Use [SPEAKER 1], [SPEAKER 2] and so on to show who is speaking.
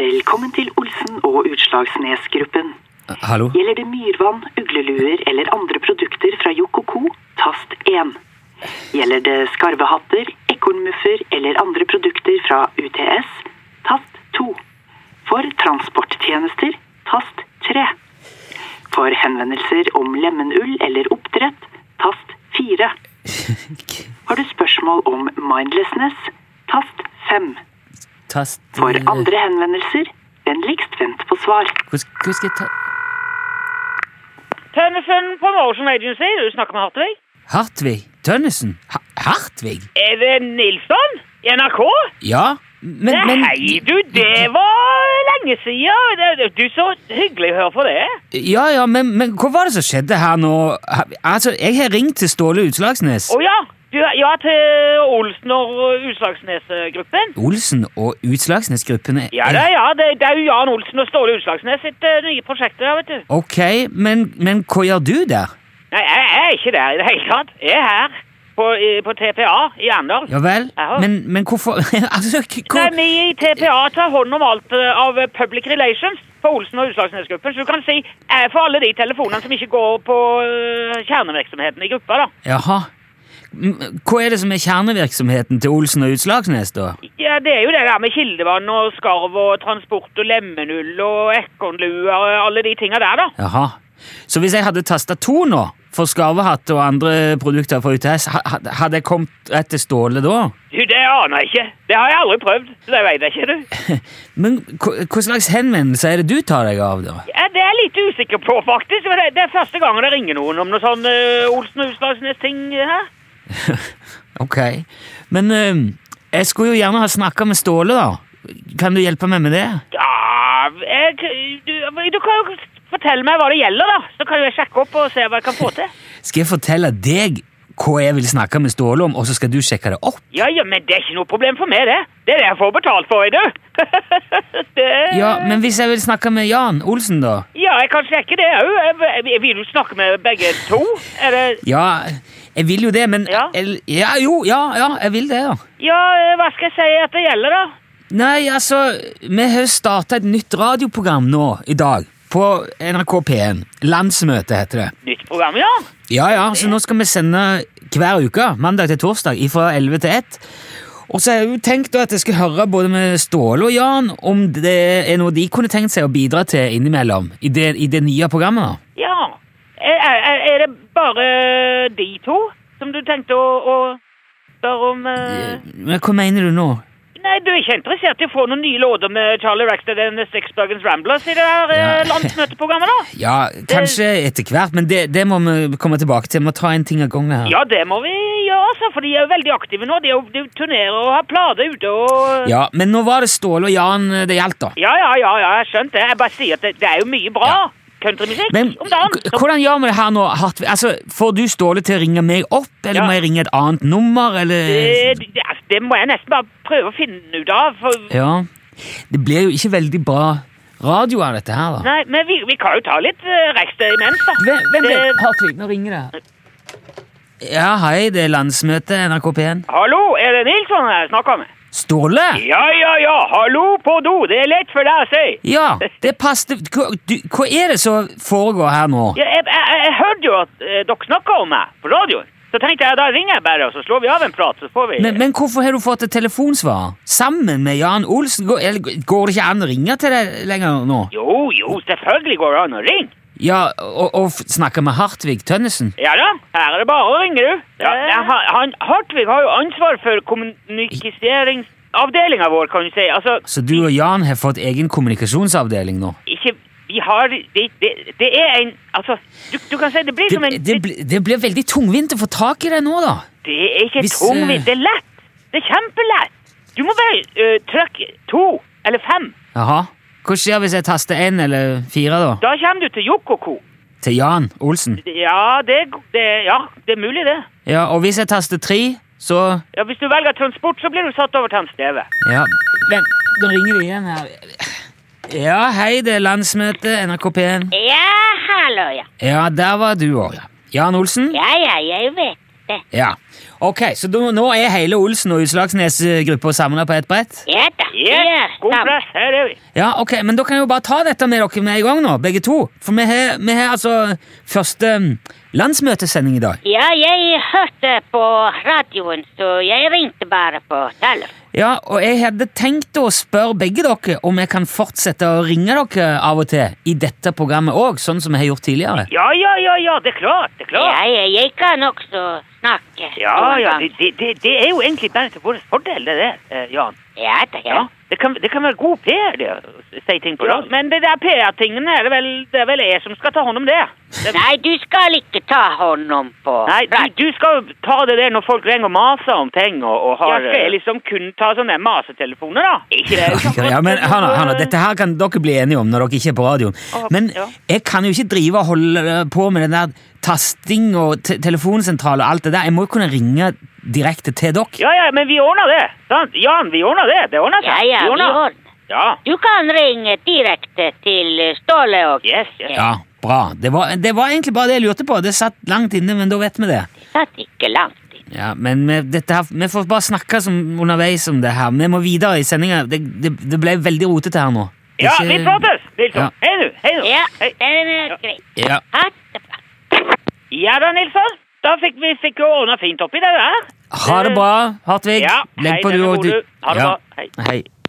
[SPEAKER 1] Velkommen til Olsen og Utslagsnesgruppen.
[SPEAKER 2] Hallo?
[SPEAKER 1] Gjelder det myrvann, ugleluer eller andre produkter fra Yoko Co, tast 1. Gjelder det skarvehatter, ekornmuffer eller andre produkter fra UTS, tast 2. For transporttjenester, tast 3. For henvendelser om lemenull eller oppdrett, tast 4. Har du spørsmål om mindlessness, tast 5.
[SPEAKER 2] Tast eh,
[SPEAKER 1] For andre henvendelser, vennligst vent på svar.
[SPEAKER 2] Hvordan hvordan skal jeg ta
[SPEAKER 3] Tønnesen Promotion Agency, du snakker med Hartvig.
[SPEAKER 2] Hartvig Tønnesen? Ha Hartvig?
[SPEAKER 3] Even Nilsson i NRK?
[SPEAKER 2] Ja, men, men
[SPEAKER 3] Nei, du, det var lenge siden. Det- det- Du, så hyggelig å høre på det.
[SPEAKER 2] Ja, ja, men, men hva var det som skjedde her nå? Ha- Altså, jeg har ringt til Ståle Utslagsnes.
[SPEAKER 3] Å ja, du, ja, til Olsen og Utslagsnes-gruppen.
[SPEAKER 2] Olsen og Utslagsnes-gruppene
[SPEAKER 3] Ja, det, er- ja, det, det er jo Jan Olsen og Ståle Utslagsnes sitt eh, nye prosjekt der, vet du.
[SPEAKER 2] Ok, men, men hva gjør du der?
[SPEAKER 3] Nei, jeg, jeg er ikke der i det hele tatt. Jeg er her på, i, på TPA i Arendal.
[SPEAKER 2] Ja vel?
[SPEAKER 3] Jaha.
[SPEAKER 2] Men, men hvorfor Altså, k- hvor
[SPEAKER 3] Nei, vi i TPA tar hånd om alt eh, av eh, public relations på Olsen og Utslagsnesgruppen. Så du kan si eh, for alle de telefonene som ikke går på eh, kjernevirksomheten i gruppa, da.
[SPEAKER 2] Jaha. M- Hva er det som er kjernevirksomheten til Olsen og Utslagsnes, da?
[SPEAKER 3] Ja, det er jo det der med kildevann og skarv og transport og lemmenull og ekornluer og alle de tinga der, da.
[SPEAKER 2] Jaha. Så hvis jeg hadde tasta to nå, for skarvehatt og andre produkter fra UTS, ha- ha- hadde jeg kommet rett til Ståle da?
[SPEAKER 3] Du, det aner jeg ikke. Det har jeg aldri prøvd. så Det veit jeg ikke, du.
[SPEAKER 2] Men hva hva slags henvendelse er det du tar deg av, da?
[SPEAKER 3] Ja, det er jeg litt usikker på, faktisk. for Det, det er første gangen det ringer noen om noe sånn eh, Olsen og Utslagsnes-ting eh, her.
[SPEAKER 2] Ok. Men øhm, jeg skulle jo gjerne ha snakka med Ståle, da. Kan du hjelpe meg med det?
[SPEAKER 3] Ja, jeg, du, du kan jo fortelle meg hva det gjelder, da. Så kan jo jeg sjekke opp og se hva jeg kan få til.
[SPEAKER 2] Skal jeg fortelle deg hva jeg vil snakke med Ståle om, og så skal du sjekke det opp?
[SPEAKER 3] Ja, ja, men det er ikke noe problem for meg, det. Det er det jeg får betalt for, du. det...
[SPEAKER 2] Ja,
[SPEAKER 3] Eh.
[SPEAKER 2] men hvis jeg vil snakke med Jan Olsen, da?
[SPEAKER 3] ja, jeg kan sjekke det òg. Vil du snakke med begge to? Er det...
[SPEAKER 2] Ja, jeg vil jo det, men
[SPEAKER 3] Ja.
[SPEAKER 2] el- ja jo, ja, ja, jeg vil det, ja.
[SPEAKER 3] Ja, eh, hva skal jeg si at det gjelder, da?
[SPEAKER 2] Nei, altså, vi har starta et nytt radioprogram nå i dag. På NRK P1. Landsmøte heter det.
[SPEAKER 3] Nytt program, ja?
[SPEAKER 2] Ja, ja, så nå skal vi sende hver uke, mandag til torsdag, fra 11 til 1. Og så har jeg jo tenkt da at jeg skal høre både med Ståle og Jan om det er noe de kunne tenkt seg å bidra til innimellom i det, i det nye programmet. da.
[SPEAKER 3] Ja. Er, er, er det bare de to som du tenkte å, å spørre om? eh?
[SPEAKER 2] Men Hva mener du nå?
[SPEAKER 3] Nei, du er ikke interessert i å få noen nye låter med Charlie Rackstead and the Six Bergens Ramblers i det her eh,
[SPEAKER 2] Ja.
[SPEAKER 3] landsmøteprogrammet, da?
[SPEAKER 2] Ja, kanskje etter hvert, men det, det må vi komme tilbake til. Vi må ta en ting av gangen her.
[SPEAKER 3] Ja, det må vi gjøre, altså, for de er jo veldig aktive nå. De, er jo, de turnerer og har plater ute og
[SPEAKER 2] Ja, Men nå var det Ståle og Jan det gjaldt, da.
[SPEAKER 3] Ja, ja, ja, ja jeg skjønte det. Jeg bare sier at det, det er jo mye bra countrymusikk
[SPEAKER 2] Men
[SPEAKER 3] om dagen.
[SPEAKER 2] k- hvordan gjør vi det her nå, Hartvig? Altså, får du Ståle til å ringe meg opp, eller
[SPEAKER 3] Ja.
[SPEAKER 2] må jeg ringe et annet nummer, eller
[SPEAKER 3] Eh, det, altså, det må jeg nesten bare prøve å finne ut av. For,
[SPEAKER 2] Ja. Det blir jo ikke veldig bra radio av dette her, da.
[SPEAKER 3] nei, men vi, vi kan jo ta litt uh, Rackstead imens, da. Eh,
[SPEAKER 2] Hvem, hvem det...
[SPEAKER 3] Det-
[SPEAKER 2] Hartvig, nå ringer det. Ja, hei, det er landsmøte NRK P1.
[SPEAKER 3] Hallo, er det Nilsson jeg snakker med?
[SPEAKER 2] Ståle?
[SPEAKER 3] Ja, ja, ja. Hallo på do. Det er lett for deg å si.
[SPEAKER 2] Ja, det passer hva, du, hva er det som foregår her nå?
[SPEAKER 3] Ja, jeg, jeg, jeg, jeg hørte jo at eh, dere snakka om meg på radioen. Så tenkte jeg da ringer jeg bare, og så slår vi av en prat, så får vi
[SPEAKER 2] Men, men hvorfor har du fått et telefonsvar? Sammen med Jan Olsen? Går, eller, går det ikke an å ringe til deg lenger nå?
[SPEAKER 3] Jo, jo, selvfølgelig går det an å ringe.
[SPEAKER 2] Ja, og, og f- snakke med Hartvig Tønnesen?
[SPEAKER 3] Ja da, her er det bare å ringe, du. Ja, jeg har- han, Hartvig har jo ansvar for kommunikeringsavdelinga vår, kan du si. Altså,
[SPEAKER 2] Så du og Jan har fått egen kommunikasjonsavdeling nå?
[SPEAKER 3] ikke Vi har Det, det, det er en Altså, du, du kan si det blir
[SPEAKER 2] Det,
[SPEAKER 3] som en
[SPEAKER 2] det,
[SPEAKER 3] Det,
[SPEAKER 2] bli- det blir veldig tungvint å få tak i deg nå, da.
[SPEAKER 3] det er ikke
[SPEAKER 2] hvis, eh,
[SPEAKER 3] tungvint. Det er lett. Det er kjempelett. Du må bare eh, trykke to eller fem.
[SPEAKER 2] Jaha. Hva skjer hvis jeg taster én eller fire, da?
[SPEAKER 3] Da kommer du til Jokko Co.
[SPEAKER 2] Til Jan Olsen?
[SPEAKER 3] Ja det, det, ja, det er mulig, det.
[SPEAKER 2] Ja, og hvis jeg taster tre, så
[SPEAKER 3] Ja, Hvis du velger transport, så blir du satt over til en steve.
[SPEAKER 2] Ja. Vent, nå ringer det igjen her. Ja, hei, det er landsmøte NRK P1.
[SPEAKER 4] Ja, hallo, ja.
[SPEAKER 2] Ja, der var du òg, ja. Jan Olsen?
[SPEAKER 4] Ja, ja, jeg vet det.
[SPEAKER 2] Ja. Ok, Så da, nå er hele Olsen og Utslagsnes-gruppa samla på ett brett?
[SPEAKER 4] Ja da.
[SPEAKER 3] Ja, god
[SPEAKER 4] da.
[SPEAKER 3] plass. Her er vi.
[SPEAKER 2] Ja, ok, Men da kan jeg jo bare ta dette med dere med i gang, nå, begge to. For vi har, vi har altså første mm, landsmøtesending i dag.
[SPEAKER 4] Ja, jeg hørte på radioen, så jeg ringte bare på telefonen.
[SPEAKER 2] Ja, Og jeg hadde tenkt å spørre begge dere om jeg kan fortsette å ringe dere av og til i dette programmet òg, sånn som jeg har gjort tidligere.
[SPEAKER 3] Ja, ja, ja, ja, det er klart, det er klart.
[SPEAKER 4] Ja, ja, jeg kan også snakke.
[SPEAKER 3] Ja,
[SPEAKER 4] noen
[SPEAKER 3] ja,
[SPEAKER 4] gang.
[SPEAKER 3] det, det, det, det er jo egentlig bare til vår fordel, det der, eh, Jan.
[SPEAKER 4] Ja da, ja.
[SPEAKER 3] Ja, det kan, det kan være god PR, det, å si ting på radio. men det der PR-tingen er det vel, det er vel jeg som skal ta hånd om det. det
[SPEAKER 4] Nei, du skal ikke ta hånd om på
[SPEAKER 3] Nei, du,
[SPEAKER 4] radio.
[SPEAKER 3] du skal jo ta det der når folk ringer og maser om ting og, og har
[SPEAKER 4] Ja, skal jeg
[SPEAKER 3] liksom kun ta sånne masetelefoner, da? Ikke det.
[SPEAKER 2] Ja, ja, men Hanna, Hanna, Dette her kan dere bli enige om når dere ikke er på radioen.
[SPEAKER 3] Å,
[SPEAKER 2] Men
[SPEAKER 3] ja.
[SPEAKER 2] jeg kan jo ikke drive og holde på med den der tasting og te telefonsentral og alt det der. Jeg må jo kunne ringe direkte til dere.
[SPEAKER 3] Ja, ja, men vi ordner det. Sant? Jan, vi ordner det. Det ordner seg.
[SPEAKER 4] Ja, ja, vi ordner.
[SPEAKER 3] Ja.
[SPEAKER 4] Du kan ringe direkte til eh, Ståle og
[SPEAKER 3] Yes, yes.
[SPEAKER 2] Ja, bra. Det var, det var egentlig bare det jeg lurte på. Det satt langt inne, men da vet vi det.
[SPEAKER 4] Det satt ikke langt inn.
[SPEAKER 2] Ja, Men vi, dette her, vi får bare snakke som, underveis om det her. Vi må videre i sendinga. Det, det, det ble veldig rotete her nå.
[SPEAKER 3] Ja,
[SPEAKER 2] Ikke-
[SPEAKER 3] vi prates, Nilsson.
[SPEAKER 2] Ja.
[SPEAKER 3] Hei nå. Hei nå.
[SPEAKER 4] Ja,
[SPEAKER 3] Hei.
[SPEAKER 4] det er greit.
[SPEAKER 2] Ja.
[SPEAKER 4] Ha det bra.
[SPEAKER 3] Ja da, Nilsson. Da fikk vi fikk jo ordna fint opp i det der.
[SPEAKER 2] Ha det bra, Hartvig.
[SPEAKER 3] Ja, hei,
[SPEAKER 2] Legg på
[SPEAKER 3] denne
[SPEAKER 2] du
[SPEAKER 3] bor
[SPEAKER 2] og du.
[SPEAKER 3] du. Ha det
[SPEAKER 2] Ja.
[SPEAKER 3] bra. Hei.
[SPEAKER 2] Hei.